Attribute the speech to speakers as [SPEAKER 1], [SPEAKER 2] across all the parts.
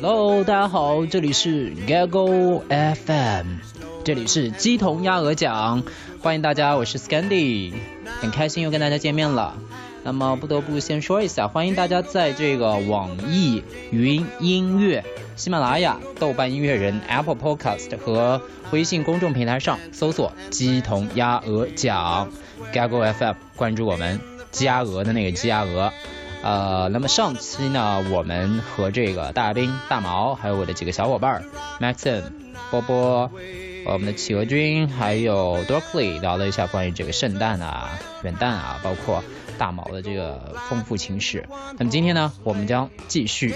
[SPEAKER 1] Hello，大家好，这里是 Gaggle FM，这里是鸡同鸭鹅讲，欢迎大家，我是 Scandy，很开心又跟大家见面了。那么不得不先说一下，欢迎大家在这个网易云音乐、喜马拉雅、豆瓣音乐人、Apple Podcast 和微信公众平台上搜索“鸡同鸭鹅讲 ”，Gaggle FM，关注我们，鸡鸭鹅的那个鸡鸭鹅。呃，那么上期呢，我们和这个大兵、大毛，还有我的几个小伙伴儿 Maxim、波波、我们的企鹅君，还有 Dorkley 聊了一下关于这个圣诞啊、元旦啊，包括大毛的这个丰富情史。那么今天呢，我们将继续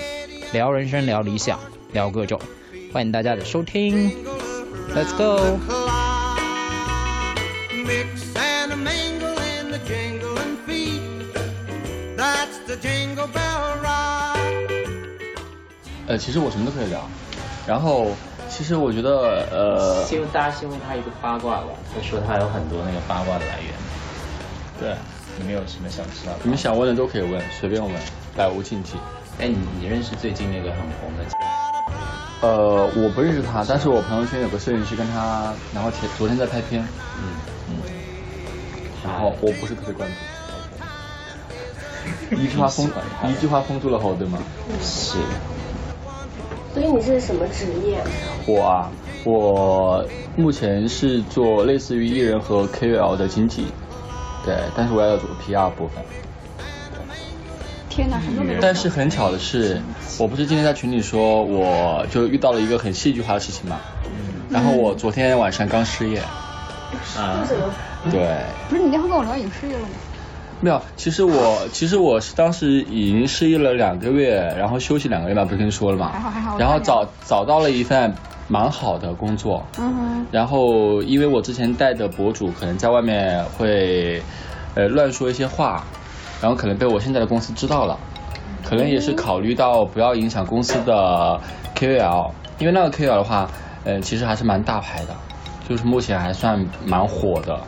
[SPEAKER 1] 聊人生、聊理想、聊各种，欢迎大家的收听，Let's go。
[SPEAKER 2] Mix and a mingle in the jingling feet. That's the jingle bell ride.
[SPEAKER 3] 呃，其实我什么都可以聊。然后，其实我觉得，呃，
[SPEAKER 4] 新闻大家新闻它一个八卦吧，他说他有很多那个八卦的来源，
[SPEAKER 3] 对，
[SPEAKER 4] 你们有什么想知道的？
[SPEAKER 3] 你们想问的都可以问，随便问，百无禁忌。
[SPEAKER 4] 哎，你你认识最近那个很红的？
[SPEAKER 3] 呃，我不认识他，但是我朋友圈有个摄影师跟他，然后前昨天在拍片，
[SPEAKER 4] 嗯嗯，
[SPEAKER 3] 然后我不是特别关注。 一句话封
[SPEAKER 4] 你喜欢他，
[SPEAKER 3] 一句话封住了喉，对吗？
[SPEAKER 4] 是
[SPEAKER 5] 所以你是什么职业？
[SPEAKER 3] 我啊，我目前是做类似于艺人和 KOL 的经济，对，但是我要做 PR 部分。
[SPEAKER 6] 天哪，什么都没有。
[SPEAKER 3] 但是很巧的是，我不是今天在群里说，我就遇到了一个很戏剧化的事情嘛。
[SPEAKER 6] 嗯
[SPEAKER 3] 然后我昨天晚上刚失业，
[SPEAKER 4] 啊
[SPEAKER 5] 为，什么？
[SPEAKER 3] 对，
[SPEAKER 6] 不是你那会跟我聊影视业了吗？
[SPEAKER 3] 没有。其实我其实我是当时已经失业了两个月，然后休息两个月嘛，不是跟你说了嘛。
[SPEAKER 6] 还好还好
[SPEAKER 3] 然后
[SPEAKER 6] 我看见
[SPEAKER 3] 找找到了一份蛮好的工作，
[SPEAKER 6] 嗯哼，
[SPEAKER 3] 然后因为我之前带的博主可能在外面会，呃，乱说一些话，然后可能被我现在的公司知道了，可能也是考虑到不要影响公司的 KOL，因为那个 KOL 的话，呃，其实还是蛮大牌的，就是目前还算蛮火的，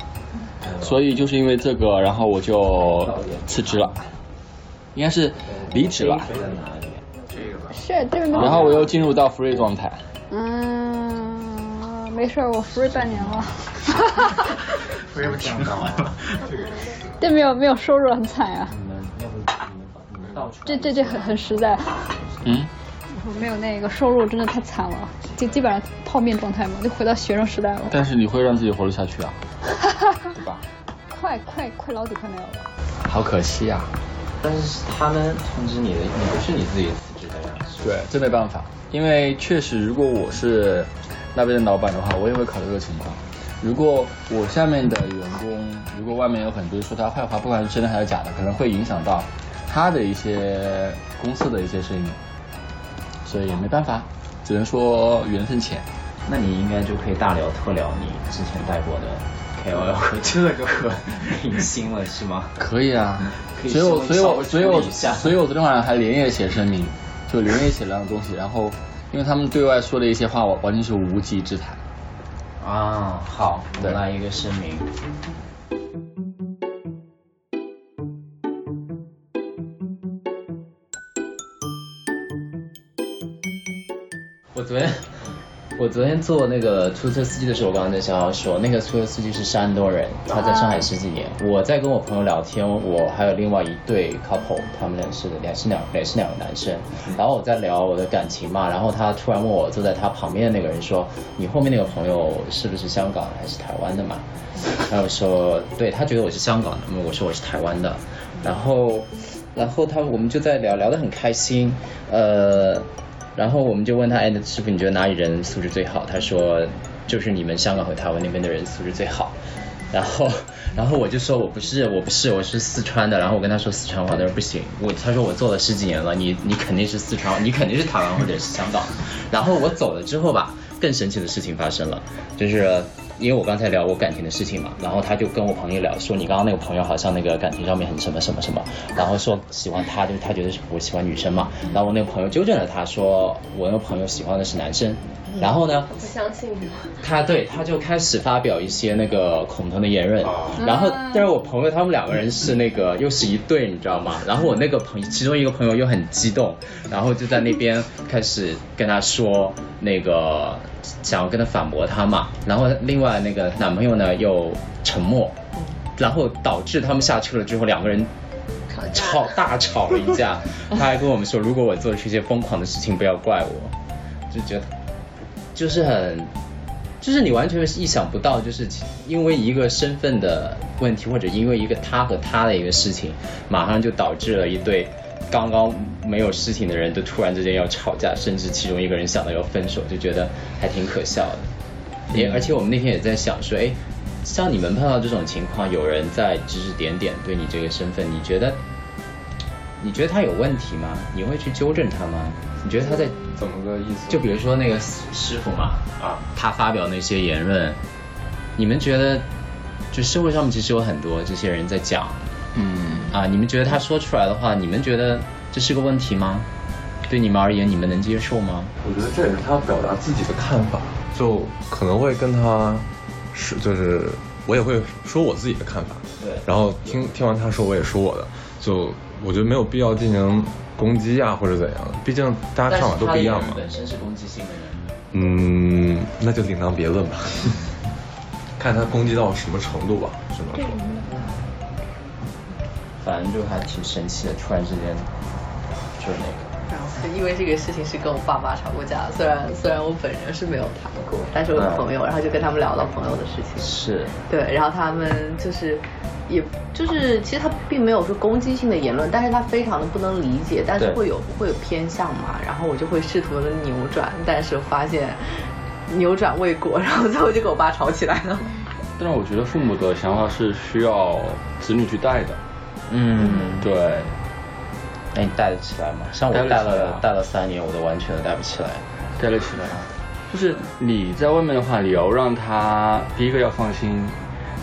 [SPEAKER 3] 所以就是因为这个，然后我就辞职了，应该是离职了，
[SPEAKER 4] 在哪里？
[SPEAKER 6] 是这个东西。
[SPEAKER 3] 然后我又进入到 free 状态。
[SPEAKER 6] 嗯，没事儿，我 free 半年了。
[SPEAKER 7] 不是不挺好玩吗？
[SPEAKER 6] 这没有没有收入很惨啊，
[SPEAKER 4] 你们要不你们你们到处
[SPEAKER 6] 这这这很很实在。
[SPEAKER 3] 嗯，
[SPEAKER 6] 我没有那个收入真的太惨了，就基本上泡面状态嘛，就回到学生时代了。
[SPEAKER 3] 但是你会让自己活得下去啊，对吧？
[SPEAKER 6] 快快快，老底快没有了。
[SPEAKER 3] 好可惜啊呀、
[SPEAKER 4] 但是他们通知你的，你不是你自己辞职的呀？是
[SPEAKER 3] 对，这没办法，因为确实，如果我是那边的老板的话，我也会考虑这个情况。如果我下面的员工，如果外面有很多说他坏话，不管是真的还是假的，可能会影响到他的一些公司的一些生意，所以没办法，只能说缘分浅。
[SPEAKER 4] 那你应该就可以大聊特聊你之前带过的 KOL 和这个和明星了，是吗？
[SPEAKER 3] 可以啊，
[SPEAKER 4] 可以
[SPEAKER 3] 所以我
[SPEAKER 4] 稍微
[SPEAKER 3] 所以
[SPEAKER 4] 稍微
[SPEAKER 3] 我所以我
[SPEAKER 4] 处理一下
[SPEAKER 3] 所以我昨天晚上还连夜写声明，就连夜写了两个东西，然后因为他们对外说的一些话，我完全是无稽之谈。
[SPEAKER 4] 啊，好，我
[SPEAKER 3] 对
[SPEAKER 4] 们来一个声明。
[SPEAKER 8] 我昨天，我昨天坐那个出租车司机的时候，我刚刚跟逍遥说，那个出租车司机是山东人，他在上海十几年。我在跟我朋友聊天，我还有另外一对 couple，他们俩是俩是两也是两个男生。然后我在聊我的感情嘛，然后他突然问我坐在他旁边的那个人说：“你后面那个朋友是不是香港还是台湾的嘛？”然后我说：“对，他觉得我是香港的，我说我是台湾的。”然后，然后他我们就在聊聊得很开心，呃。然后我们就问他，哎，那师傅你觉得哪里人素质最好？他说，就是你们香港和台湾那边的人素质最好。然后，然后我就说我不是，我不是，我是四川的。然后我跟他说四川话，他说不行，我他啊说我做了十几年了，你你肯定是四川，你肯定是台湾或者是香港。然后我走了之后吧，更神奇的事情发生了，就是因为我刚才聊我感情的事情嘛，然后他就跟我朋友聊说，你刚刚那个朋友好像那个感情上面很什么什么什么，然后说喜欢他，就是他觉得是我喜欢女生嘛，然后我那个朋友纠正了他说，我那个朋友喜欢的是男生，然后呢，
[SPEAKER 5] 不相信你。
[SPEAKER 8] 他对他就开始发表一些那个恐同的言论
[SPEAKER 7] 哦，
[SPEAKER 8] 然后但是我朋友他们两个人是那个又是一对，你知道吗？然后我那个朋其中一个朋友又很激动，然后就在那边开始跟他说那个想要跟他反驳他嘛，然后另外那个男朋友呢又沉默，然后导致他们下车了之后两个人。
[SPEAKER 9] 啊
[SPEAKER 8] 吵大吵了一架，他还跟我们说，如果我做出一些疯狂的事情，不要怪我，就觉得就是很，就是你完全是意想不到，就是因为一个身份的问题，或者因为一个他和他的一个事情，马上就导致了一对刚刚没有事情的人都突然之间要吵架，甚至其中一个人想到要分手，就觉得还挺可笑的。也而且我们那天也在想说，哎，像你们碰到这种情况，有人在指指点点对你这个身份，你觉得你觉得他有问题吗？你会去纠正他吗？你觉得他在
[SPEAKER 3] 怎么个意思？
[SPEAKER 8] 就比如说那个师师傅嘛，
[SPEAKER 7] 啊，
[SPEAKER 8] 他发表那些言论，你们觉得，就社会上面其实有很多这些人在讲
[SPEAKER 3] 嗯，
[SPEAKER 8] 啊，你们觉得他说出来的话，你们觉得这是个问题吗？对你们而言，你们能接受吗？
[SPEAKER 10] 我觉得这也是他表达自己的看法，就可能会跟他是就是我也会说我自己的看法，
[SPEAKER 8] 对
[SPEAKER 10] 然后听听完他说我也说我的，就我觉得没有必要进行攻击啊或者怎样，毕竟大家看法都不一样嘛。
[SPEAKER 8] 本身是攻击性的人，
[SPEAKER 10] 嗯，那就另当别论吧， 看他攻击到什么程度吧，只能说。
[SPEAKER 8] 反正就还挺神奇的，突然之间就是那
[SPEAKER 11] 然后因为这个事情是跟我爸妈吵过架，虽然虽然我本人是没有谈过，但是我的朋友，然后就跟他们聊到朋友的事
[SPEAKER 8] 个
[SPEAKER 11] 情，
[SPEAKER 8] 是
[SPEAKER 11] 对，然后他们就是。也就是，其实他并没有说攻击性的言论，但是他非常的不能理解，但是
[SPEAKER 8] 对
[SPEAKER 11] 会有会有偏向嘛，然后我就会试图的扭转，但是发现扭转未果，然后最后就跟我爸吵起来了。
[SPEAKER 3] 但是我觉得父母的想法是需要子女去带的，
[SPEAKER 8] 嗯，对。
[SPEAKER 3] 对，
[SPEAKER 8] 那你带得起来吗？像我
[SPEAKER 3] 带
[SPEAKER 8] 带
[SPEAKER 3] 得起来
[SPEAKER 8] 了
[SPEAKER 3] 啊
[SPEAKER 8] 带了三年，我都完全带不起来。
[SPEAKER 3] 带得起来。就是你在外面的话，你要让他第一个要放心，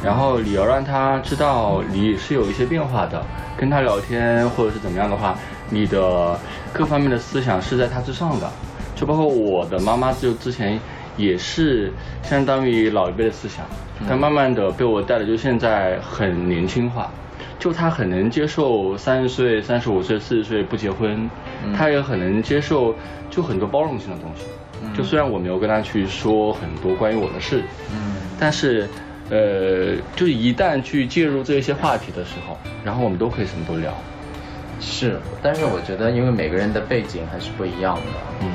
[SPEAKER 3] 然后你要让他知道你是有一些变化的，跟他聊天或者是怎么样的话，你的各方面的思想是在他之上的，就包括我的妈妈就之前也是相当于老一辈的思想，但慢慢的被我带的就现在很年轻化。就他很能接受三十岁、三十五岁、四十岁不结婚，他也很能接受就很多包容性的东西。就虽然我没有跟他去说很多关于我的事，但是，呃，就一旦去介入这些话题的时候，然后我们都可以什么都聊。
[SPEAKER 8] 是，但是我觉得，因为每个人的背景还是不一样的，
[SPEAKER 3] 嗯，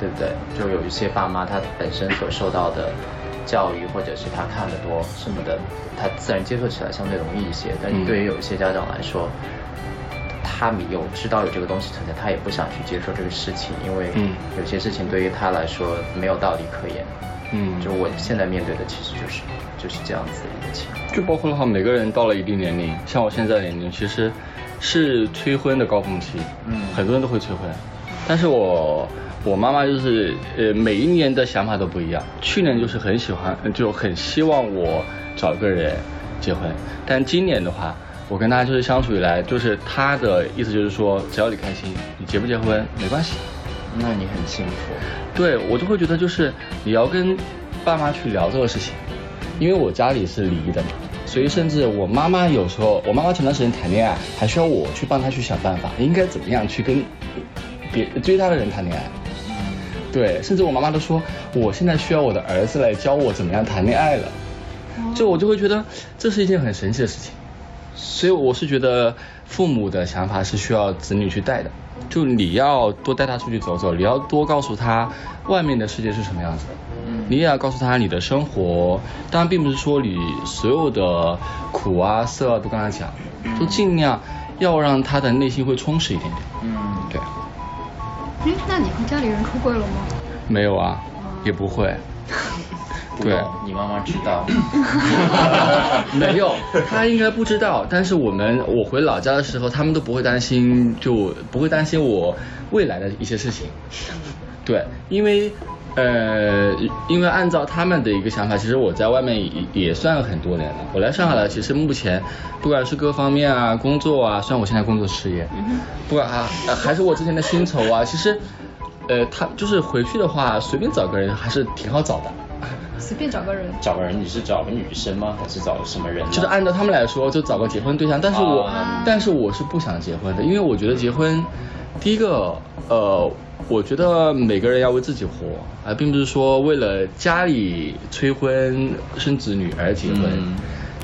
[SPEAKER 8] 对不对？就有一些爸妈他本身所受到的教育，或者是他看得多什么的，他自然接受起来相对容易一些。但是对于有一些家长来说，他们有知道有这个东西存在，他也不想去接受这个事情，因为
[SPEAKER 3] 嗯
[SPEAKER 8] 有些事情对于他来说没有道理可言。
[SPEAKER 3] 嗯
[SPEAKER 8] 就我现在面对的其实就是就是这样子的一个情况。
[SPEAKER 3] 就包括的话，每个人到了一定年龄，像我现在的年龄，其实是催婚的高峰期，
[SPEAKER 8] 嗯
[SPEAKER 3] 很多人都会催婚，但是我我妈妈就是呃每一年的想法都不一样，去年就是很喜欢，呃就很希望我找一个人结婚，但今年的话。我跟她就是相处以来，就是她的意思就是说，只要你开心，你结不结婚没关系，
[SPEAKER 8] 那你很幸福，
[SPEAKER 3] 对我就会觉得就是你要跟爸妈去聊这个事情，因为我家里是离异的嘛，所以甚至我妈妈有时候，我妈妈前段时间谈恋爱，还需要我去帮她去想办法，应该怎么样去跟别追她的人谈恋爱。对，甚至我妈妈都说，我现在需要我的儿子来教我怎么样谈恋爱了，就我就会觉得这是一件很神奇的事情。所以我是觉得父母的想法是需要子女去带的，就你要多带他出去走走，你要多告诉他外面的世界是什么样子的。你也要告诉他你的生活，当然并不是说你所有的苦啊、涩啊都跟他讲，就尽量要让他的内心会充实一点点。
[SPEAKER 8] 嗯。
[SPEAKER 3] 对，
[SPEAKER 6] 哎，那你和家里人出柜了吗？
[SPEAKER 3] 没有啊，也不会。对，
[SPEAKER 8] 你妈妈知道。
[SPEAKER 3] 没有，他应该不知道。但是我们我回老家的时候，他们都不会担心，就不会担心我未来的一些事情。对，因为呃，因为按照他们的一个想法，其实我在外面也也算很多年了。我来上海了，其实目前不管是各方面啊、工作啊，虽然我现在工作失业，不管啊还是我之前的薪酬啊，其实呃，他就是回去的话，随便找个人还是挺好找的。
[SPEAKER 6] 随便找个人。
[SPEAKER 8] 找个人，你是找个女生吗？还是找什么人呢？
[SPEAKER 3] 就是按照他们来说，就找个结婚对象。但是我，但是我是不想结婚的，因为我觉得结婚，第一个，呃，我觉得每个人要为自己活，而并不是说为了家里催婚生子女而结婚。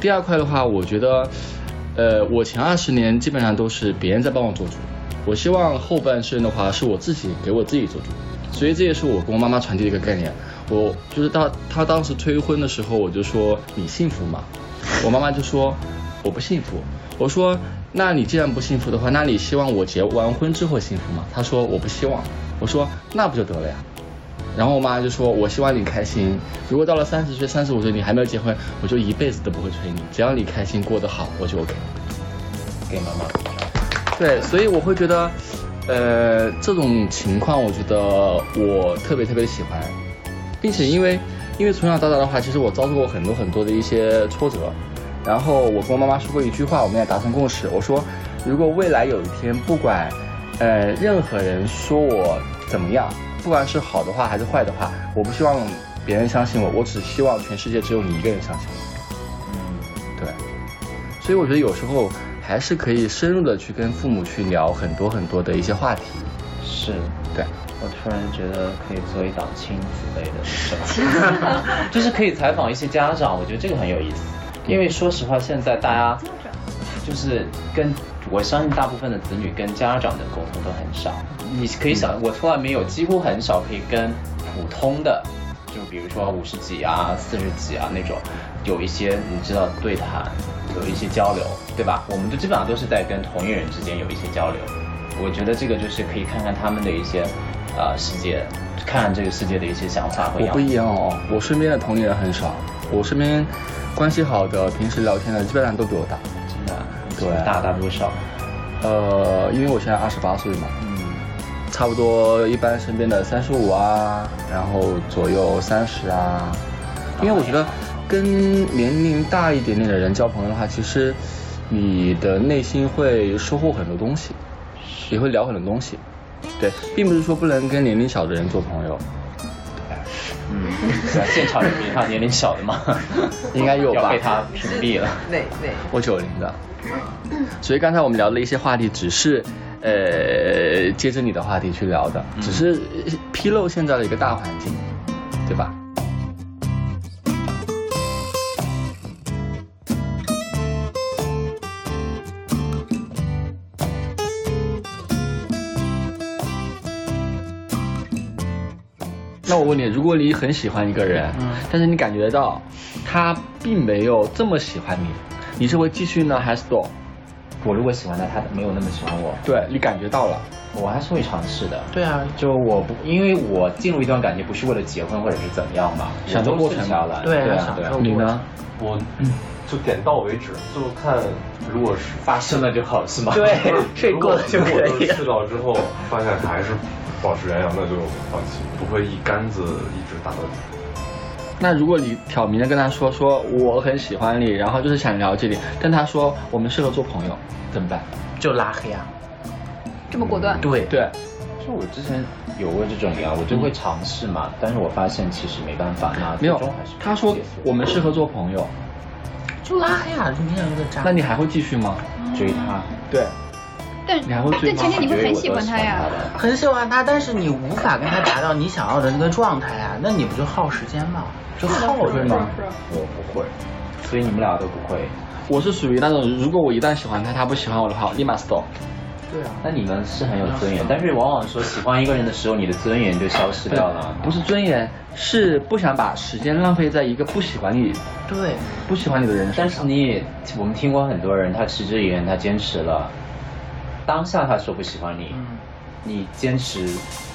[SPEAKER 3] 第二块的话，我觉得，呃，我前二十年基本上都是别人在帮我做主，我希望后半生的话是我自己给我自己做主。所以这也是我跟我妈妈传递的一个概念。我就是到她当时催婚的时候，我就说你幸福吗？我妈妈就说我不幸福。我说那你既然不幸福的话，那你希望我结完婚之后幸福吗？她说我不希望。我说那不就得了呀。然后我妈就说：“我希望你开心。如果到了三十岁、三十五岁你还没有结婚，我就一辈子都不会催你。只要你开心过得好，我就 OK。”
[SPEAKER 8] 给妈妈。
[SPEAKER 3] 对，所以我会觉得，呃，这种情况我觉得我特别特别喜欢，并且因为因为从小到大的话，其实我遭受过很多很多的一些挫折。然后我跟我妈妈说过一句话，我们俩达成共识，我说如果未来有一天，不管呃任何人说我怎么样，不管是好的话还是坏的话，我不希望别人相信我，我只希望全世界只有你一个人相信我。对，所以我觉得有时候还是可以深入的去跟父母去聊很多很多的一些话题。
[SPEAKER 8] 是，
[SPEAKER 3] 对。
[SPEAKER 8] 我突然觉得可以做一档亲子类 的，就是可以采访一些家长，我觉得这个很有意思。因为说实话，现在大家就是跟我相信大部分的子女跟家长的沟通都很少。你可以
[SPEAKER 3] 嗯
[SPEAKER 8] 想，我从来没有，几乎很少可以跟普通的，就比如说五十几啊、四十几啊那种，有一些你知道对谈，有一些交流，对吧？我们就基本上都是在跟同龄人之间有一些交流。我觉得这个就是可以看看他们的一些，呃，世界，看这个世界的一些想法和
[SPEAKER 3] 我
[SPEAKER 8] 样
[SPEAKER 3] 不一样哦，我身边的同龄人很少，我身边关系好的、平时聊天的，基本上都比我大。
[SPEAKER 8] 真的？
[SPEAKER 3] 对，
[SPEAKER 8] 大大多少？
[SPEAKER 3] 呃，因为我现在二十八岁嘛，嗯，差不多一般身边的三十五啊，然后左右三十啊，因为我觉得跟年龄大一点点的人交朋友的话，其实你的内心会收获很多东西，也会聊很多东西，对，并不是说不能跟年龄小的人做朋友，
[SPEAKER 8] 嗯，现场有比他年龄小的 吗？
[SPEAKER 3] 应该有吧
[SPEAKER 8] 要被他屏蔽了。
[SPEAKER 11] 哪哪？
[SPEAKER 3] 我九零的，所以刚才我们聊的一些话题，只是呃接着你的话题去聊的，只是披露现在的一个大环境，对吧？那我问你，如果你很喜欢一个人，但是你感觉到他并没有这么喜欢你，你是会继续呢，还是 stop？
[SPEAKER 8] 我如果喜欢他，他没有那么喜欢我，
[SPEAKER 3] 对你感觉到了，
[SPEAKER 8] 我还是会尝试的。对啊，就我不，因为我进入一段感情不是为了结婚或者是怎么样嘛，
[SPEAKER 3] 享受过程嘛
[SPEAKER 8] 下来。
[SPEAKER 3] 对啊
[SPEAKER 8] 对
[SPEAKER 3] 享
[SPEAKER 8] 啊，
[SPEAKER 3] 受
[SPEAKER 8] 对啊
[SPEAKER 3] 过。程你呢？
[SPEAKER 10] 我就点到为止，就看如果是
[SPEAKER 8] 发生了就好，是吗？
[SPEAKER 10] 对
[SPEAKER 8] 睡过了就可以了
[SPEAKER 10] 如果试到之后发现还是保持原样，那就放弃，不会一竿子一直打到底。
[SPEAKER 3] 那如果你挑明的跟他说说我很喜欢你，然后就是想了解你，但他说我们适合做朋友，怎么办？
[SPEAKER 7] 就拉黑啊。
[SPEAKER 6] 这么果断？
[SPEAKER 7] 对
[SPEAKER 3] 对，
[SPEAKER 8] 就我之前有过这种呀，我就会尝试嘛，但是我发现其实嗯没办法，那
[SPEAKER 3] 没有
[SPEAKER 8] 最终还是，
[SPEAKER 3] 他说我们适合做朋友，
[SPEAKER 7] 就拉黑啊，你想有点渣。
[SPEAKER 3] 那你还会继续吗？
[SPEAKER 8] 追他，
[SPEAKER 3] 对，
[SPEAKER 6] 但
[SPEAKER 3] 你还会追
[SPEAKER 6] 但
[SPEAKER 3] 吗
[SPEAKER 6] 前提你会很喜欢他呀。
[SPEAKER 7] 很喜欢他，但是你无法跟他达到你想要的那个状态啊，那你不就耗时间吗？就耗着吗？
[SPEAKER 8] 我不会，所以你们俩都不会。
[SPEAKER 3] 我是属于那种如果我一旦喜欢他，他不喜欢我的话，我立马 stop。
[SPEAKER 7] 对啊，
[SPEAKER 8] 那你们是很有尊严，但是往往说喜欢一个人的时候，你的尊严就消失掉
[SPEAKER 7] 啊
[SPEAKER 8] 了。
[SPEAKER 3] 不是尊严，是不想把时间浪费在一个不喜欢你、
[SPEAKER 7] 对，
[SPEAKER 3] 不喜欢你的人身上。
[SPEAKER 8] 但是你也，我们听过很多人，他持之以恒，他坚持了。当下他说不喜欢你，
[SPEAKER 7] 嗯，
[SPEAKER 8] 你坚持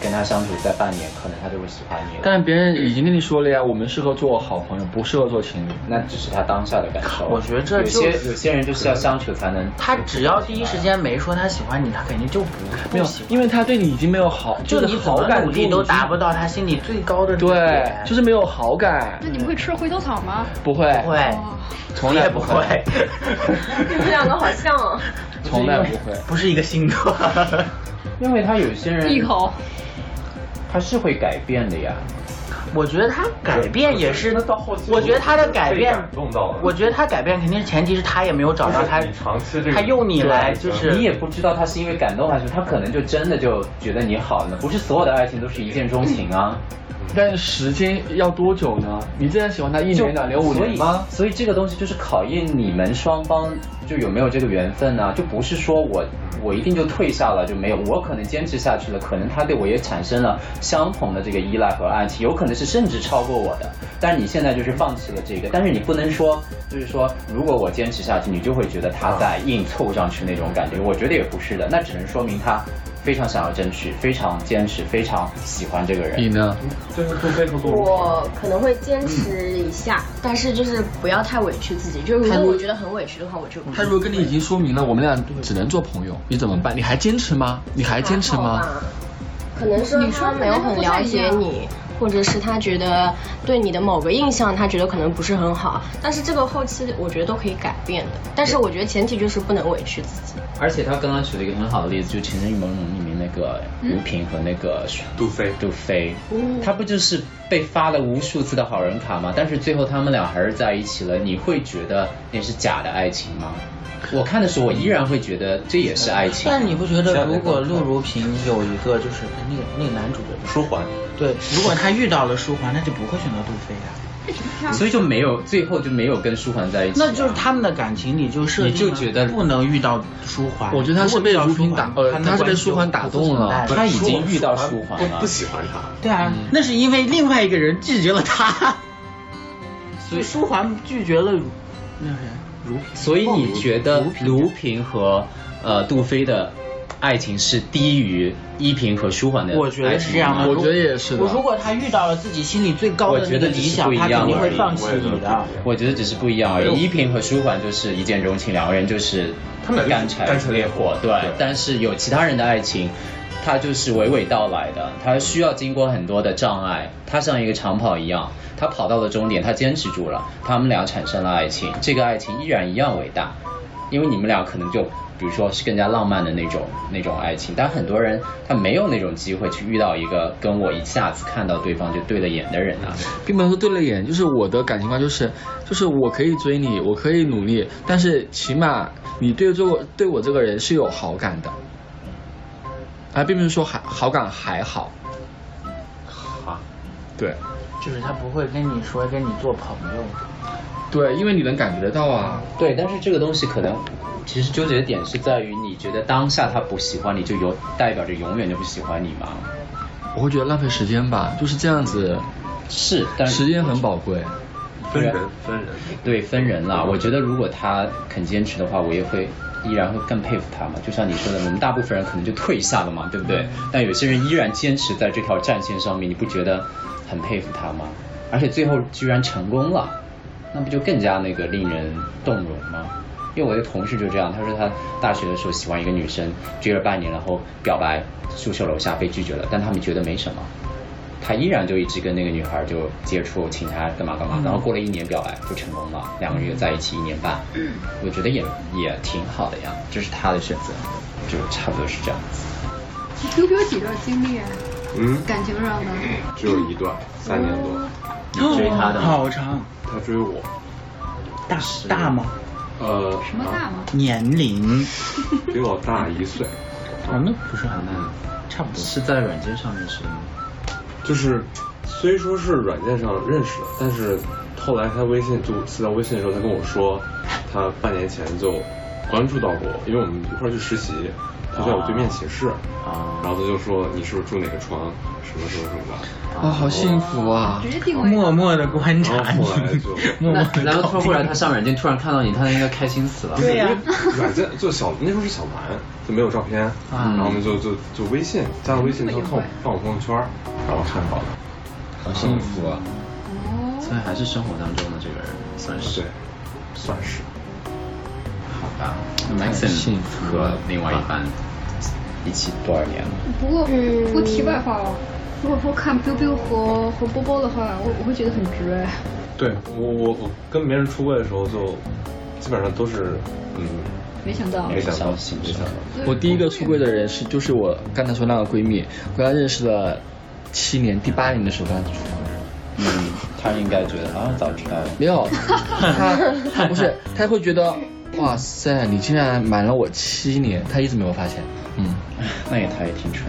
[SPEAKER 8] 跟他相处在半年，可能他就会喜欢你了。
[SPEAKER 3] 但是别人已经跟你说了呀，我们适合做好朋友，不适合做情侣。
[SPEAKER 8] 那只是他当下的感受。
[SPEAKER 7] 我觉得这
[SPEAKER 8] 有
[SPEAKER 7] 就
[SPEAKER 8] 些
[SPEAKER 7] 是
[SPEAKER 8] 有些人就是要相处才能。
[SPEAKER 7] 他只要第一时间没说他喜欢你，他肯定就不
[SPEAKER 3] 没
[SPEAKER 7] 不
[SPEAKER 3] 有
[SPEAKER 7] 喜，欢。
[SPEAKER 3] 因为他对你已经没有好，
[SPEAKER 7] 就你
[SPEAKER 3] 是
[SPEAKER 7] 怎
[SPEAKER 3] 好
[SPEAKER 7] 么
[SPEAKER 3] 感
[SPEAKER 7] 努力
[SPEAKER 3] 度
[SPEAKER 7] 都
[SPEAKER 3] 已经
[SPEAKER 7] 达不到他心里最高的
[SPEAKER 3] 对，就是是没有好感
[SPEAKER 6] 那，你们会吃回头草吗？哦
[SPEAKER 3] 不会，
[SPEAKER 7] 不
[SPEAKER 8] 哎
[SPEAKER 7] 会，
[SPEAKER 3] 从来
[SPEAKER 7] 不
[SPEAKER 3] 不
[SPEAKER 7] 会
[SPEAKER 3] 会，
[SPEAKER 5] 你们两个好像哦，
[SPEAKER 3] 从来不会。
[SPEAKER 7] 不是一个星座。
[SPEAKER 8] 因为他有些人
[SPEAKER 6] 一口，
[SPEAKER 8] 他是会改变的呀。
[SPEAKER 7] 我觉得他改变也是，我觉得他的改变，我觉得他改变肯定是前提是他也没有找到他，他用你来就是
[SPEAKER 8] 你也不知道他是因为感动还是他可能就真的就觉得你好呢，不是所有的爱情都是一见钟情啊。
[SPEAKER 12] 但时间要多久呢？你真的喜欢他一年、两年、五年吗？
[SPEAKER 8] 所以，所以这个东西就是考验你们双方就有没有这个缘分呢、就不是说我我一定就退下了就没有，我可能坚持下去了，可能他对我也产生了相同的这个依赖和爱情，有可能是甚至超过我的。但是你现在就是放弃了这个，但是你不能说就是说如果我坚持下去，你就会觉得他在硬凑上去那种感觉，我觉得也不是的，那只能说明他。非常想要争取，非常坚持，非常喜欢这个人。
[SPEAKER 3] 你呢？
[SPEAKER 10] 就是不非常
[SPEAKER 5] 我可能会坚持一下，但是就是不要太委屈自己。就是如
[SPEAKER 12] 他
[SPEAKER 5] 果
[SPEAKER 12] 如
[SPEAKER 5] 我觉得很委屈的话，我就不
[SPEAKER 12] 他
[SPEAKER 3] 嗯
[SPEAKER 12] 如果跟你已经说明了，我们俩只能做朋友，你怎么办？你还坚持吗？你还坚持吗？
[SPEAKER 5] 可能是
[SPEAKER 9] 女
[SPEAKER 5] 他
[SPEAKER 9] 生没有很了解你，或者是他觉得对你的某个印象，他觉得可能不是很好。但是这个后期我觉得都可以改变的，但是我觉得前提就是不能委屈自己。
[SPEAKER 8] 而且他刚刚举了一个很好的例子，就《情深深雨蒙蒙》里面那个
[SPEAKER 9] 嗯
[SPEAKER 8] 吴萍和那个
[SPEAKER 10] 杜飞，
[SPEAKER 8] 杜飞
[SPEAKER 9] 嗯，
[SPEAKER 8] 他不就是被发了无数次的好人卡吗？但是最后他们俩还是在一起了，你会觉得那是假的爱情吗？我看的时候，我依然会觉得这也是爱情。
[SPEAKER 7] 但你不觉得，如果陆如萍有一个就是那个那个男主角
[SPEAKER 10] 舒缓，
[SPEAKER 7] 对，如果他遇到了舒缓，那就不会选择杜飞啊呀、
[SPEAKER 8] 所以就没有最后就没有跟舒缓在一起？
[SPEAKER 7] 那就是他们的感情里就设定
[SPEAKER 8] 你就觉得
[SPEAKER 7] 不能遇到舒缓。
[SPEAKER 12] 我觉得他是被
[SPEAKER 7] 如果遇
[SPEAKER 12] 如
[SPEAKER 7] 到舒
[SPEAKER 12] 萍
[SPEAKER 7] 缓
[SPEAKER 12] 打，呃，
[SPEAKER 7] 们
[SPEAKER 12] 他是被
[SPEAKER 7] 关系
[SPEAKER 12] 舒缓打动了，嗯
[SPEAKER 7] 就不存在
[SPEAKER 10] 舒缓不喜欢他。
[SPEAKER 7] 对啊，那是因为另外一个人拒绝 了他，所以舒缓拒绝了那个人。
[SPEAKER 8] 所以你觉得卢平和呃杜飞的爱情是低于依萍和舒缓的爱情吗？
[SPEAKER 7] 我觉得是这样的，我如果他遇到了自己心里最高
[SPEAKER 8] 我
[SPEAKER 7] 的
[SPEAKER 8] 觉
[SPEAKER 7] 那个
[SPEAKER 8] 得
[SPEAKER 7] 理
[SPEAKER 8] 只是
[SPEAKER 7] 想
[SPEAKER 8] 不，一
[SPEAKER 7] 他肯
[SPEAKER 8] 样
[SPEAKER 7] 定
[SPEAKER 8] 而
[SPEAKER 7] 会
[SPEAKER 8] 已
[SPEAKER 7] 放弃你的。。
[SPEAKER 8] 我觉得只是不一样而已。依萍和舒缓就是一见钟情，两个人就是
[SPEAKER 10] 他们
[SPEAKER 8] 干柴
[SPEAKER 10] 干柴烈
[SPEAKER 8] 火。对，但是有其他人的爱情，它就是娓娓道来的，它需要经过很多的障碍。它像一个长跑一样，它跑到了终点，它坚持住了，他们俩产生了爱情，这个爱情依然一样伟大。因为你们俩可能就，比如说是更加浪漫的那种那种爱情，但很多人他没有那种机会去遇到一个跟我一下子看到对方就对了眼的人啊。
[SPEAKER 12] 并不能说对了眼，就是我的感情观就是，就是我可以追你，我可以努力，但是起码你对这个对我这个人是有好感的，啊，并不是说还好感还好，
[SPEAKER 10] 好，
[SPEAKER 12] 对
[SPEAKER 7] 就是他不会跟你说跟你做朋友。
[SPEAKER 12] 对，因为你能感觉得到啊。
[SPEAKER 8] 对，但是这个东西可能其实纠结的点是在于，你觉得当下他不喜欢你，就有代表着永远就不喜欢你吗？
[SPEAKER 12] 我会觉得浪费时间吧，就是这样子。
[SPEAKER 8] 是，但
[SPEAKER 12] 时间很宝贵。
[SPEAKER 10] 分人分人，
[SPEAKER 8] 对，分人啦。我觉得如果他肯坚持的话，我也会依然会更佩服他嘛。就像你说的，我们大部分人可能就退下了嘛，对不对？
[SPEAKER 10] 嗯
[SPEAKER 8] 但有些人依然坚持在这条战线上面，你不觉得很佩服他吗？而且最后居然成功了，那不就更加那个令人动容吗？因为我的同事就这样，他说他大学的时候喜欢一个女生，追了半年，然后表白，宿舍楼下被拒绝了，但他们觉得没什么。他依然就一直跟那个女孩就接触，请她干嘛干嘛，然后过了一年表白就成功了，两个人又在一起一年半，我觉得也也挺好的呀，这是他的选择，就差不多是这样子。
[SPEAKER 6] 你有几段经历啊？
[SPEAKER 10] 嗯，
[SPEAKER 6] 感情上的？
[SPEAKER 10] 只有一段，三年多。
[SPEAKER 8] 你
[SPEAKER 7] 哦
[SPEAKER 8] 追他的吗
[SPEAKER 7] 好长，
[SPEAKER 10] 他追我，
[SPEAKER 7] 大大吗？
[SPEAKER 10] 呃，
[SPEAKER 6] 什么大吗？
[SPEAKER 7] 年龄
[SPEAKER 10] 比我大一岁，
[SPEAKER 7] 我们不是很大，差不多。
[SPEAKER 8] 是在软件上认识的吗？
[SPEAKER 10] 就是虽说是软件上认识的，但是后来他微信就私聊微信的时候，他跟我说，他半年前就关注到过我，因为我们一块儿去实习，他在我对面寝室，
[SPEAKER 8] 啊，
[SPEAKER 10] 然后他就说你是不是住哪个床，什么什么什么的，
[SPEAKER 12] 啊，好幸福啊！
[SPEAKER 6] 直接定位。
[SPEAKER 7] 默默的观察
[SPEAKER 10] 然后
[SPEAKER 7] 你
[SPEAKER 10] 哦后 来就，
[SPEAKER 7] 默默
[SPEAKER 8] 那
[SPEAKER 7] 的。
[SPEAKER 8] 然后突然他上软件突然看到你，他应该开心死了。
[SPEAKER 10] 就是因
[SPEAKER 7] 呀
[SPEAKER 10] 为软件就小那时候是小蓝，就没有照片，然后我们就就就微信加了微信，他放放我朋友圈，然后看到嗯了，
[SPEAKER 8] 好幸福啊！所以还是生活当中的这个人算是
[SPEAKER 10] 对，算是。
[SPEAKER 8] 好吧。那 Maxon 和另外一半一起多少年了？
[SPEAKER 6] 不过不过题外话哦，如果说看 biu biu 和和波波的话，我我会觉得很值哎。
[SPEAKER 10] 对我我我跟别人出柜的时候就，基本上都是嗯，
[SPEAKER 6] 没想到，
[SPEAKER 10] 没想到，
[SPEAKER 8] 相信
[SPEAKER 10] 没想到，
[SPEAKER 12] 我第一个出柜的人是就是我刚才说那个闺蜜，和她认识了
[SPEAKER 3] 七年、第八年的时候跟他出门。
[SPEAKER 8] 嗯，他应该觉得啊，早知道了。
[SPEAKER 3] 没有，他他不是，他会觉得，哇塞，你竟然瞒了我七年，他一直没有发现。嗯，
[SPEAKER 8] 那也他也挺蠢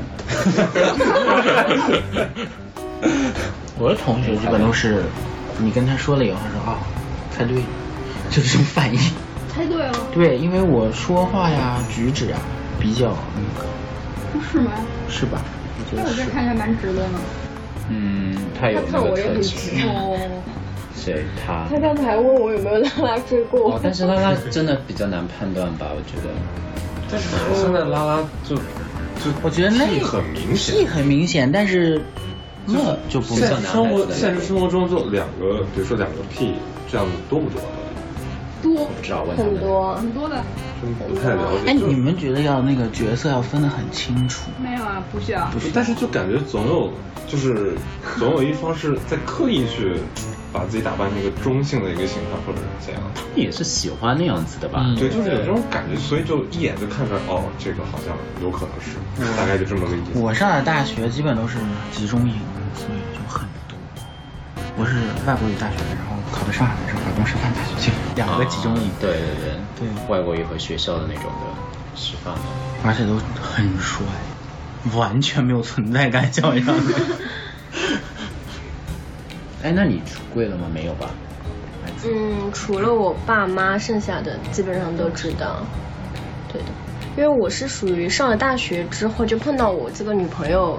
[SPEAKER 7] 我的同学基本都是，你跟他说了以后，他说哦，猜对，就这种反应。
[SPEAKER 6] 猜对了，
[SPEAKER 7] 对，因为我说话呀、举止啊，比较那个，
[SPEAKER 6] 是吗？
[SPEAKER 7] 是吧？
[SPEAKER 6] 那我这看着蛮直的呢。
[SPEAKER 8] 嗯，他有那个特质。
[SPEAKER 6] 哦，
[SPEAKER 8] 谁他？
[SPEAKER 5] 他刚才还问我有没有拉拉追过
[SPEAKER 8] 哦，，但是拉拉真的比较难判断吧，我觉得。
[SPEAKER 10] 但是现在拉拉就就
[SPEAKER 7] 我觉得那
[SPEAKER 10] 个很明显，
[SPEAKER 7] 屁很明显，但是那就不
[SPEAKER 10] 现
[SPEAKER 7] 算
[SPEAKER 10] 实生活现实生活中就两个，比如说两个屁，这样多不多？
[SPEAKER 6] 多，
[SPEAKER 8] 不知道问
[SPEAKER 5] 很多
[SPEAKER 6] 很多的。
[SPEAKER 10] 真不太了解。
[SPEAKER 7] 哎，你们觉得要那个角色要分得很清楚，
[SPEAKER 6] 没有啊，不需要。
[SPEAKER 10] 不是，但是就感觉总有，就是总有一方是在刻意去把自己打扮成一个中性的一个形象，或者是怎样。
[SPEAKER 8] 也是喜欢那样子的吧？
[SPEAKER 10] 嗯对，就是有这种感觉，所以就一眼就看出来，哦，这个好像有可能是，大概就这么个意思。
[SPEAKER 7] 我上的大学基本都是集中营，所以就很多。我是外国语大学的，然后考的上海的，然后考的师范大学，就两个集中营，
[SPEAKER 8] 对对
[SPEAKER 10] 嗯
[SPEAKER 8] 对
[SPEAKER 7] 对，
[SPEAKER 8] 外国语和学校的那种的师范的，
[SPEAKER 7] 而且都很帅，完全没有存在感，像样的。
[SPEAKER 8] 哎，那你出柜了吗？没有 吧？
[SPEAKER 5] 嗯，除了我爸妈，剩下的基本上都知道。对的，因为我是属于上了大学之后就碰到我这个女朋友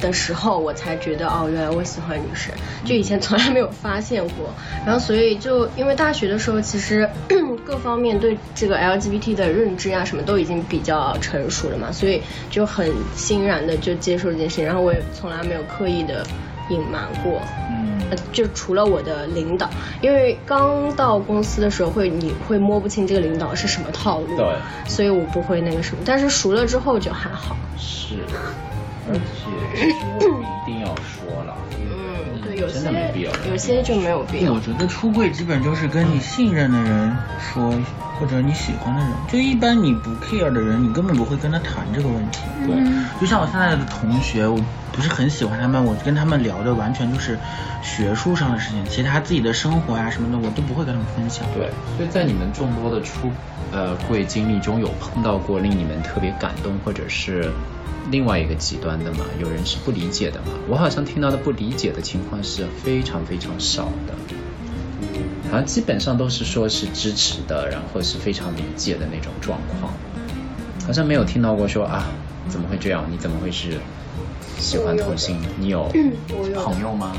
[SPEAKER 5] 的时候，我才觉得哦，原来我喜欢女生，就以前从来没有发现过。然后所以就因为大学的时候，其实 各方面对这个 LGBT 的认知啊什么都已经比较成熟了嘛，所以就很欣然的就接受这件事情，然后我也从来没有刻意的隐瞒过。
[SPEAKER 7] 嗯
[SPEAKER 5] 呃就除了我的领导，因为刚到公司的时候会你会摸不清这个领导是什么套路，
[SPEAKER 8] 对，
[SPEAKER 5] 所以我不会那个什么，但是熟了之后就还好。
[SPEAKER 8] 是，而且其实我们一定要说了，
[SPEAKER 5] 嗯，对，有
[SPEAKER 8] 真的没必要
[SPEAKER 5] 些有些就没有必要
[SPEAKER 7] 哎我。觉得出柜基本就是跟你信任的人说，或者你喜欢的人，就一般你不 care 的人，你根本不会跟他谈这个问题。
[SPEAKER 8] 对嗯
[SPEAKER 7] 就像我现在的同学，我不是很喜欢他们，我跟他们聊的完全就是学术上的事情，其他自己的生活呀、啊什么的，我都不会跟他们分享。
[SPEAKER 8] 对，所以在你们众多的出呃柜经历中，有碰到过令你们特别感动，或者是另外一个极端的吗？有人是不理解的吗？我好像听到的不理解的情况是非常非常少的，好像基本上都是说是支持的，然后是非常理解的那种状况，好像没有听到过说啊怎么会这样？你怎么会是喜欢同性？你有
[SPEAKER 5] 我有
[SPEAKER 8] 朋友 吗？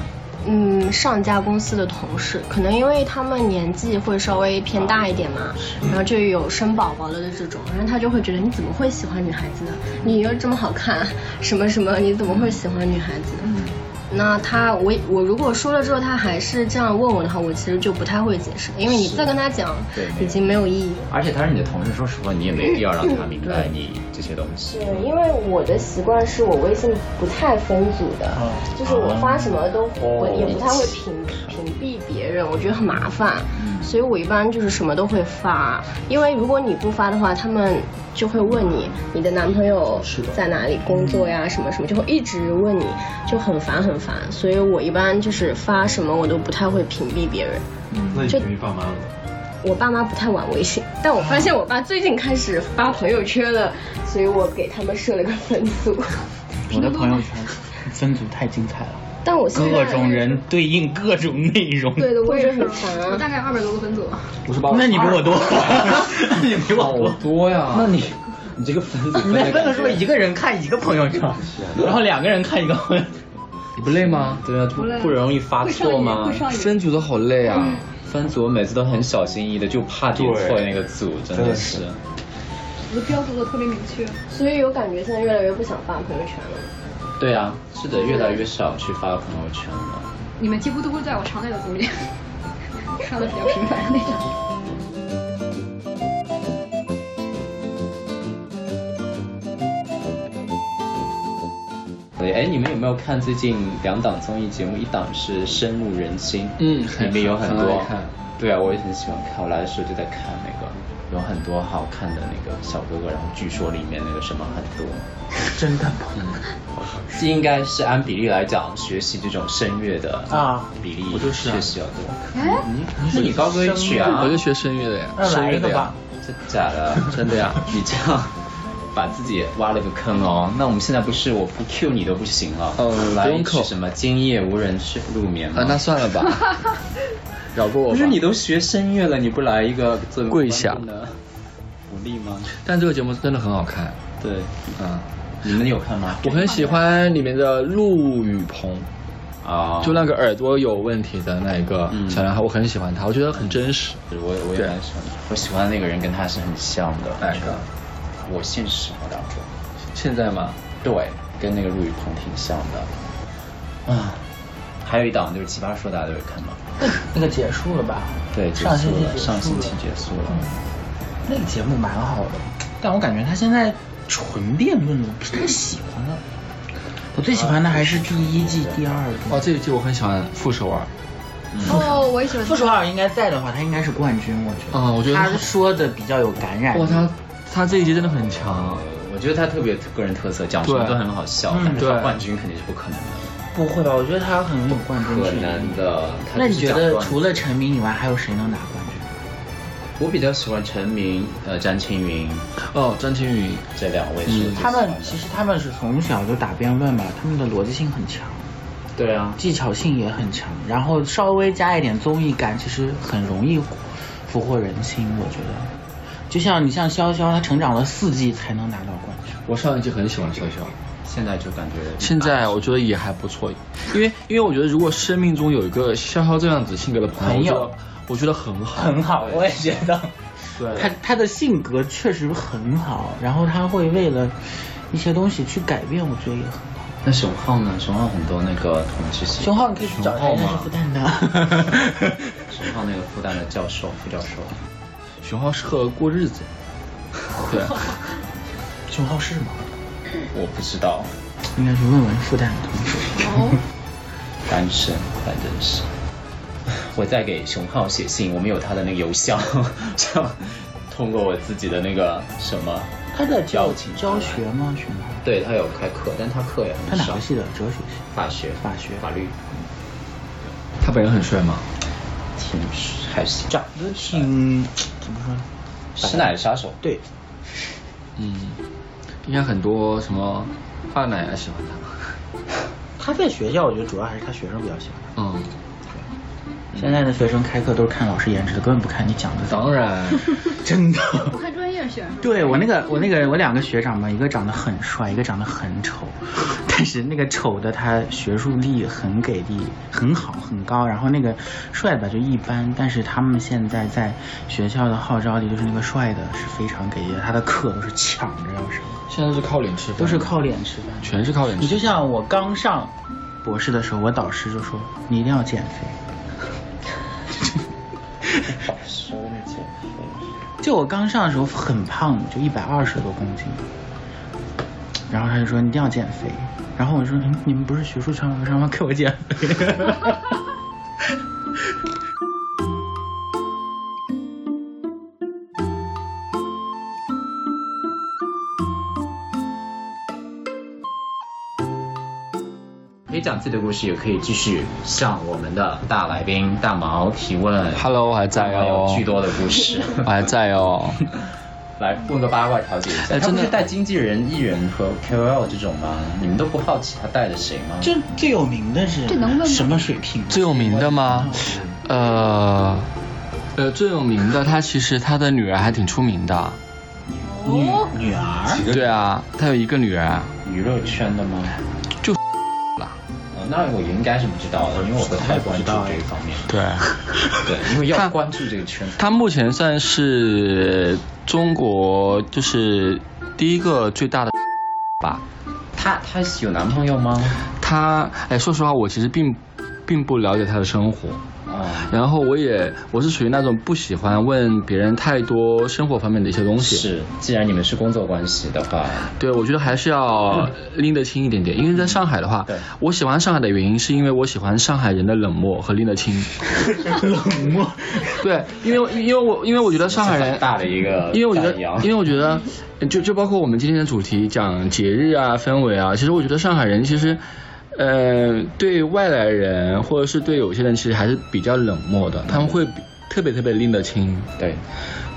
[SPEAKER 5] 嗯，上家公司的同事，可能因为他们年纪会稍微偏大一点嘛，然后就有生宝宝了的这种，然后他就会觉得你怎么会喜欢女孩子呢？你又这么好看，什么什么，你怎么会喜欢女孩子？
[SPEAKER 8] 嗯
[SPEAKER 5] 那他我我如果说了之后，他还是这样问我的话，我其实就不太会解释，因为你
[SPEAKER 8] 是
[SPEAKER 5] 再跟他讲
[SPEAKER 8] 对没有
[SPEAKER 5] 已经没有意义了。
[SPEAKER 8] 而且他是你的同事，说实话，你也没必要让他明白你这些东西。
[SPEAKER 5] 对，因为我的习惯是我微信不太分组的，就是我发什么都我也不太会屏屏蔽别人，我觉得很麻烦，所以我一般就是什么都会发，因为如果你不发的话，他们就会问你你的男朋友在哪里工作呀，什么什么，就会一直问你，就很烦很烦，所以我一般就是发什么我都不太会屏蔽别人。
[SPEAKER 13] 那你
[SPEAKER 5] 就
[SPEAKER 13] 给你爸妈了吗？
[SPEAKER 5] 我爸妈不太玩微信， 但我发现我爸最近开始发朋友圈了，所以我给他们设了个分组。
[SPEAKER 7] 我的朋友圈 分组太精彩了，
[SPEAKER 5] 但我现在
[SPEAKER 7] 各种人对应各种内容。
[SPEAKER 5] 对的，我也觉得很烦啊。
[SPEAKER 6] 我大概二百多个分组，
[SPEAKER 3] 我是把
[SPEAKER 7] 那你比我多， 你比我多
[SPEAKER 3] 多 呀。
[SPEAKER 7] 那你
[SPEAKER 3] 你这个分组
[SPEAKER 7] 你那分的时候一个人看一个朋友圈，
[SPEAKER 8] 啊
[SPEAKER 7] 然后两个人看一个朋友圈，
[SPEAKER 3] 你不累吗？
[SPEAKER 8] 对啊，
[SPEAKER 6] 不
[SPEAKER 8] 不
[SPEAKER 6] 累
[SPEAKER 8] 不容易发错吗
[SPEAKER 6] 会上瘾会？上瘾
[SPEAKER 3] 分组都好累啊。
[SPEAKER 8] 分组每次都很小心翼翼的，就怕点错那个组，真的是。
[SPEAKER 6] 我的标注的特别明确。
[SPEAKER 5] 所以有感觉现在越来越不想发朋友圈了。
[SPEAKER 8] 对啊，是的，越来越少去发朋友圈了。
[SPEAKER 6] 你们几乎都会在我常在的 组里，刷的比较频繁的那种。
[SPEAKER 8] 对，哎，你们有没有看最近两档综艺节目？一档是《深入人心》，
[SPEAKER 3] 嗯
[SPEAKER 8] 里面有
[SPEAKER 3] 很
[SPEAKER 8] 很多
[SPEAKER 3] 很爱看。
[SPEAKER 8] 对啊，我也很喜欢看，我来的时候就在看那个。有很多好看的那个小哥哥，然后据说里面那个什么很多，
[SPEAKER 7] 真的吗？
[SPEAKER 8] 嗯，应该是按比例来讲，学习这种声乐的
[SPEAKER 7] 啊
[SPEAKER 8] 比例
[SPEAKER 3] 我就是啊
[SPEAKER 8] 确实要多。
[SPEAKER 6] 哎，
[SPEAKER 8] 那你高歌一曲啊？
[SPEAKER 3] 我就学声乐的呀，
[SPEAKER 8] 那
[SPEAKER 3] 声
[SPEAKER 8] 来
[SPEAKER 3] 乐
[SPEAKER 8] 一
[SPEAKER 3] 的
[SPEAKER 8] 个
[SPEAKER 3] 呀
[SPEAKER 8] 吧。真假的？啊真的 呀？你这样把自己挖了个坑哦。那我们现在不是我不 Q 你都不行了。
[SPEAKER 3] 哦
[SPEAKER 8] 来
[SPEAKER 3] 不用
[SPEAKER 8] 一
[SPEAKER 3] call
[SPEAKER 8] 曲什么？今夜无人睡入眠吗？
[SPEAKER 3] 啊，那算了 吧，饶过我
[SPEAKER 8] 不
[SPEAKER 3] 吧
[SPEAKER 8] 是。你都学声乐了，你不来一个作为
[SPEAKER 3] 跪下
[SPEAKER 8] 观众的福利吗？
[SPEAKER 3] 但这个节目真的很好看。
[SPEAKER 8] 对，
[SPEAKER 3] 嗯，
[SPEAKER 8] 你们有看吗？
[SPEAKER 3] 我很喜欢里面的陆雨鹏，
[SPEAKER 8] 啊，
[SPEAKER 3] 就那个耳朵有问题的那一个
[SPEAKER 7] 嗯
[SPEAKER 3] 小男孩，我很喜欢他，我觉得很真实。
[SPEAKER 8] 我我也
[SPEAKER 3] 对
[SPEAKER 8] 蛮喜欢的，我喜欢的那个人跟他是很像的。那个？我现实当中。
[SPEAKER 3] 现在吗？
[SPEAKER 8] 对，跟那个陆雨鹏挺像的。啊，还有一档就是《奇葩说》，大家都有看吗？
[SPEAKER 7] 那个结束了吧？
[SPEAKER 8] 对，结
[SPEAKER 7] 上
[SPEAKER 8] 束
[SPEAKER 7] 星期
[SPEAKER 8] 了，
[SPEAKER 7] 结束
[SPEAKER 8] 上星
[SPEAKER 7] 了
[SPEAKER 8] 期结束了。
[SPEAKER 7] 那个节目蛮好的，但我感觉他现在纯辩论的我不是太喜欢了。我最喜欢的还是第一季、第二季。
[SPEAKER 3] 哦，这一季我很喜欢傅首尔。
[SPEAKER 6] 哦，我也喜欢。
[SPEAKER 7] 傅首尔应该在的话，他应该是冠军，哦我觉得。
[SPEAKER 3] 啊我觉得他
[SPEAKER 7] 他说的比较有感染力。
[SPEAKER 3] 哇，他他这一季真的很
[SPEAKER 7] 嗯
[SPEAKER 3] 强。
[SPEAKER 8] 啊我觉得他特别个人特色，讲什么
[SPEAKER 3] 对
[SPEAKER 8] 都很好笑，
[SPEAKER 7] 嗯
[SPEAKER 8] 但是
[SPEAKER 7] 对
[SPEAKER 8] 他冠军肯定是不可能的。
[SPEAKER 7] 不会吧？我觉得他很有冠
[SPEAKER 3] 嗯
[SPEAKER 7] 军
[SPEAKER 8] 可
[SPEAKER 7] 之
[SPEAKER 8] 能
[SPEAKER 7] 力。
[SPEAKER 8] 的，他
[SPEAKER 7] 那你
[SPEAKER 8] 就是
[SPEAKER 7] 觉
[SPEAKER 8] 讲
[SPEAKER 7] 得
[SPEAKER 8] 段子
[SPEAKER 7] 除了陈明以外，还有谁能拿冠军？
[SPEAKER 8] 我比较喜欢陈明、呃詹青云
[SPEAKER 3] 哦，詹青云
[SPEAKER 8] 这两位
[SPEAKER 3] 嗯
[SPEAKER 8] 是我最喜欢的、
[SPEAKER 7] 他们其实他们是从小就打辩论嘛，他们的逻辑性很强，
[SPEAKER 8] 对啊，
[SPEAKER 7] 技巧性也很强，然后稍微加一点综艺感，其实很容易俘获人心。我觉得，就像你像潇潇，他成长了四季才能拿到冠军。
[SPEAKER 3] 我上一季很喜欢潇潇。
[SPEAKER 7] 嗯
[SPEAKER 8] 现在就感觉
[SPEAKER 3] 现在我觉得也还不错，因为因为我觉得如果生命中有一个潇潇这样子性格的朋
[SPEAKER 7] 朋友
[SPEAKER 3] 友，我觉得我觉得很好，
[SPEAKER 7] 很好，哎我 也觉得。
[SPEAKER 3] 对
[SPEAKER 7] 他他的性格确实很好，然后他会为了一些东西去改变，我觉得也很好。
[SPEAKER 8] 那熊浩呢？熊浩很多那个统治性。
[SPEAKER 7] 熊浩你可以去找他，
[SPEAKER 8] 熊浩
[SPEAKER 7] 他是
[SPEAKER 8] 吗
[SPEAKER 7] 复？旦的。
[SPEAKER 8] 熊浩那个复旦的教授，副教授。
[SPEAKER 3] 熊浩适合过日 子。对，
[SPEAKER 7] 熊浩是吗？
[SPEAKER 8] 我不知道，
[SPEAKER 7] 应该去问问复旦的同学。
[SPEAKER 8] 单身，反正是。我在给熊浩写信，我们有他的那个邮箱，这样通过我自己的那个什么，
[SPEAKER 7] 他在教
[SPEAKER 8] 邀请
[SPEAKER 7] 教学吗？熊浩？
[SPEAKER 8] 对他有开课，但他课也很
[SPEAKER 7] 他哪
[SPEAKER 8] 少
[SPEAKER 7] 个。系的？哲学系。
[SPEAKER 8] 法学，
[SPEAKER 7] 法学，
[SPEAKER 8] 法律，
[SPEAKER 3] 他本人很帅吗？
[SPEAKER 8] 挺还行。
[SPEAKER 7] 长得挺怎么说呢？
[SPEAKER 8] 师奶杀手，
[SPEAKER 7] 对，
[SPEAKER 3] 嗯，应该很多什么二奶啊喜欢他。
[SPEAKER 7] 他在学校，我觉得主要还是他学生比较喜欢他。
[SPEAKER 3] 嗯，
[SPEAKER 7] 嗯现在的学生开课都是看老师颜值的，根本不看你讲的。
[SPEAKER 3] 当 然，
[SPEAKER 7] 真的。
[SPEAKER 6] 不看专业选，
[SPEAKER 7] 对我那个我那个我两个学长嘛，一个长得很帅，一个长得很丑， 但是那个丑的他学术力很给力，很好很高，然后那个帅的吧就一般，但是他们现在在学校的号召力就是那个帅的是非常给力的，他的课都是抢着要上，
[SPEAKER 3] 现在都是靠脸吃饭，
[SPEAKER 7] 都是靠脸吃饭。
[SPEAKER 3] 全是靠脸
[SPEAKER 7] 你
[SPEAKER 3] 吃
[SPEAKER 7] 就像我刚上博士的时候，我导师就说你一定要减肥。就我刚上的时候很胖，就一百二十多公斤，然后他就说你一定要减肥，然后我说嗯你们不是学术场合上吗？给我减肥。
[SPEAKER 8] 可以讲自己的故事，也可以继续向我们的大来宾大毛提问。
[SPEAKER 3] Hello，我还在哦，
[SPEAKER 8] 有巨多的故事，
[SPEAKER 3] 我还在哦。
[SPEAKER 8] 来问个八卦调解一下。他
[SPEAKER 3] 哎真
[SPEAKER 8] 不
[SPEAKER 3] 的
[SPEAKER 8] 是带经纪人、艺人和 KOL 这种吗？你们都不好奇他带的谁吗？
[SPEAKER 7] 这最有名的是
[SPEAKER 6] 这能问吗
[SPEAKER 7] 什么水平？
[SPEAKER 3] 最有名的吗？呃，呃，最有名的他其实他的女儿还挺出名的。
[SPEAKER 7] 女女儿
[SPEAKER 3] 对啊，他有一个女儿，
[SPEAKER 8] 娱乐圈的吗？
[SPEAKER 3] 就
[SPEAKER 8] 啦。那我应该是不知道的，因为我不太关注这一方面。
[SPEAKER 3] 对。
[SPEAKER 8] 对，因为要
[SPEAKER 3] 他
[SPEAKER 8] 关注这个圈子。
[SPEAKER 3] 他目前算是中国就是第一个最大的吧。
[SPEAKER 8] 他他有男朋友吗？
[SPEAKER 3] 他哎，说实话，我其实并并不了解他的生活，
[SPEAKER 8] 啊、
[SPEAKER 3] 然后我也我是属于那种不喜欢问别人太多生活方面的一些东西。
[SPEAKER 8] 是，既然你们是工作关系的话，
[SPEAKER 3] 对我觉得还是要拎得清一点点。因为在上海的
[SPEAKER 14] 嗯
[SPEAKER 3] 话，我喜欢上海的原因是因为我喜欢上海人的冷漠和拎得清。
[SPEAKER 14] 冷漠。
[SPEAKER 3] 对，因为因为我因为我觉得上海 人
[SPEAKER 8] 大的一个
[SPEAKER 3] 因为我觉得
[SPEAKER 8] 呃赞扬
[SPEAKER 3] 因为我觉得 就就包括我们今天的主题讲节日啊氛围啊，其实我觉得上海人其实。呃，对外来人或者是对有些人，其实还是比较冷漠的，他们会比特别特别拎得清。
[SPEAKER 8] 对，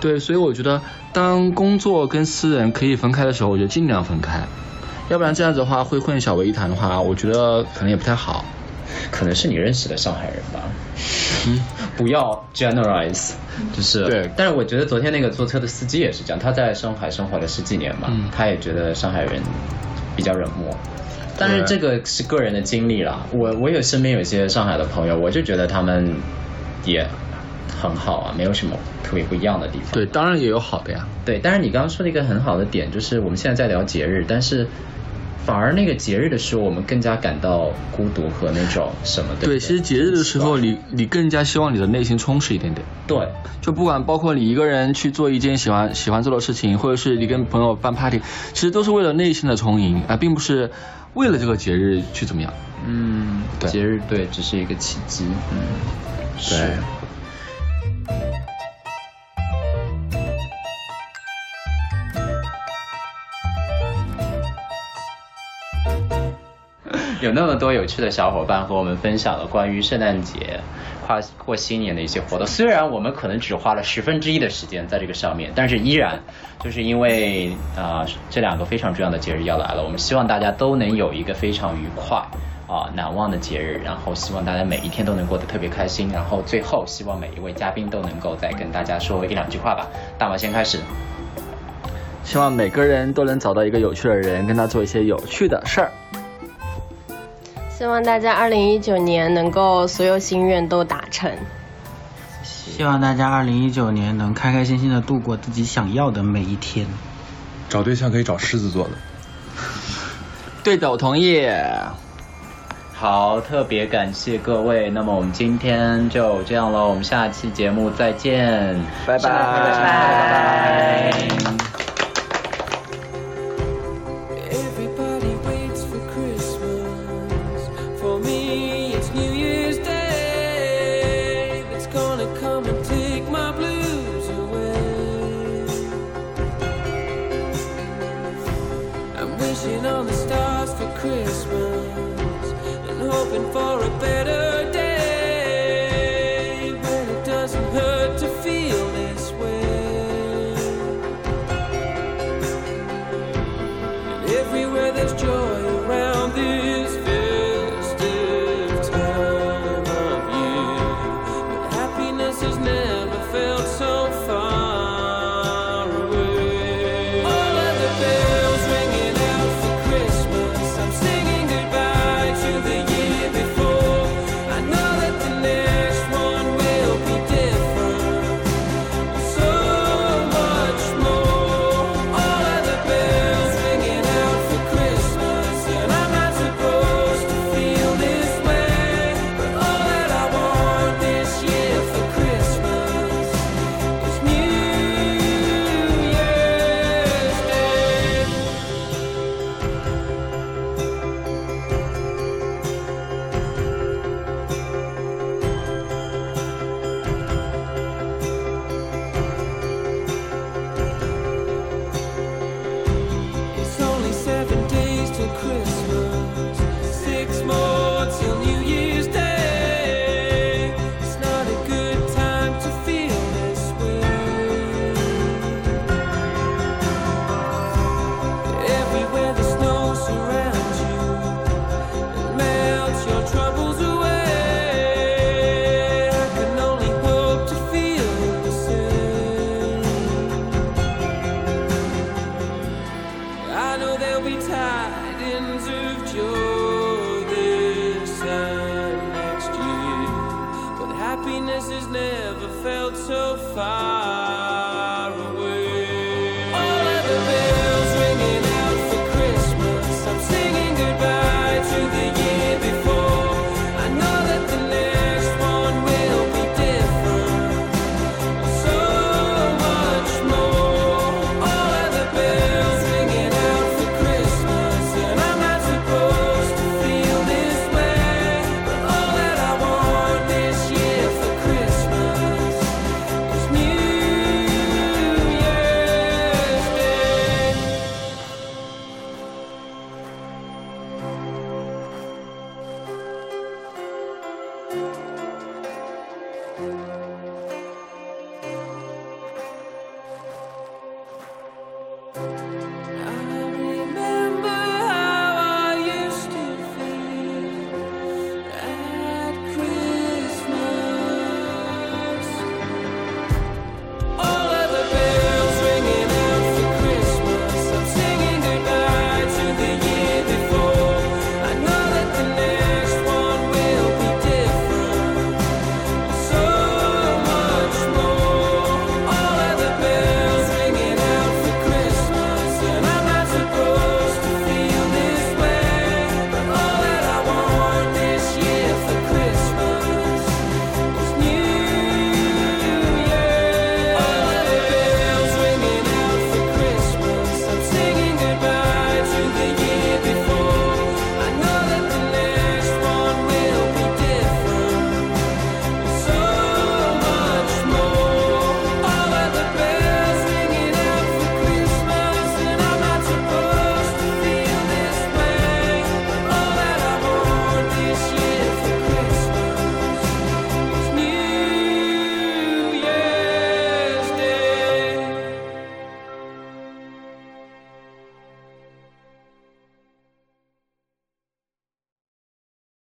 [SPEAKER 3] 对，所以我觉得当工作跟私人可以分开的时候，我觉得尽量分开，要不然这样子的话会混淆为一谈的话，我觉得可能也不太好。
[SPEAKER 8] 可能是你认识的上海人吧。嗯，不要 generalize，就是对。但是我觉得昨天那个坐车的司机也是这样，他在上海生活了十几年嘛，他也觉得上海人比较冷漠。但是这个是个人的经历啦，我我有身边有一些上海的朋友，我就觉得他们也很好啊，没有什么特别不一样的地方。
[SPEAKER 3] 对，当然也有好的呀。
[SPEAKER 8] 对，但是你刚刚说了一个很好的点，就是我们现在在聊节日，但是反而那个节日的时候，我们更加感到孤独和那种什么的。
[SPEAKER 3] 对，其实节日的时候，你你更加希望你的内心充实一点点。
[SPEAKER 8] 对，
[SPEAKER 3] 就不管包括你一个人去做一件喜欢喜欢做的事情，或者是你跟朋友办 party，其实都是为了内心的充盈，而并不是为了这个节日去怎么样。
[SPEAKER 8] 嗯，节日对，只是一个契机。嗯，对。 有那么多有趣的小伙伴和我们分享了关于圣诞节、跨过新年的一些活动。虽然我们可能只花了十分之一的时间在这个上面，但是依然就是因为啊、呃这两个非常重要的节日要来了，我们希望大家都能有一个非常愉快啊、难忘的节日。然后希望大家每一天都能过得特别开心。然后最后希望每一位嘉宾都能够再跟大家说一两句话吧。大毛先开始。
[SPEAKER 3] 希望每个人都能找到一个有趣的人，跟他做一些有趣的事儿。
[SPEAKER 5] 希望大家二零一九年能够所有心愿都达成。
[SPEAKER 14] 希望大家二零一九年能开开心心的度过自己想要的每一天。
[SPEAKER 10] 找对象可以找狮子座的。
[SPEAKER 3] 对的，我同意。
[SPEAKER 8] 好，特别感谢各位。那么我们今天就这样喽，我们下期节目再见，
[SPEAKER 3] 拜
[SPEAKER 8] 拜
[SPEAKER 3] 拜
[SPEAKER 8] 拜。
[SPEAKER 7] Everybody waits for Christmas. For me, it's New Year's Day. That's gonna come and take my blues away. I'm wishing on the stars for Christmas and hoping for a better day. When it doesn't hurt to feel this way. And everywhere there's joy around this festive time of year. But happiness has never felt so far away. All of the bells ringing out for Christmas. I'm singing goodbye to the year before. I know that the next one will be different. So much more. All of the bells ringing out for Christmas, and I'm not supposed to feel this way. But all that I want this year for Christmas is New Year's Day. It's only seven days till Christmas, six more till New Year's Day. It's not a good time to feel this way. Everywhere the snow surrounds you and melts your troubles away. I can only hope to feel the same. I know there'll be tidings of joy this time next year, but happiness has never felt so far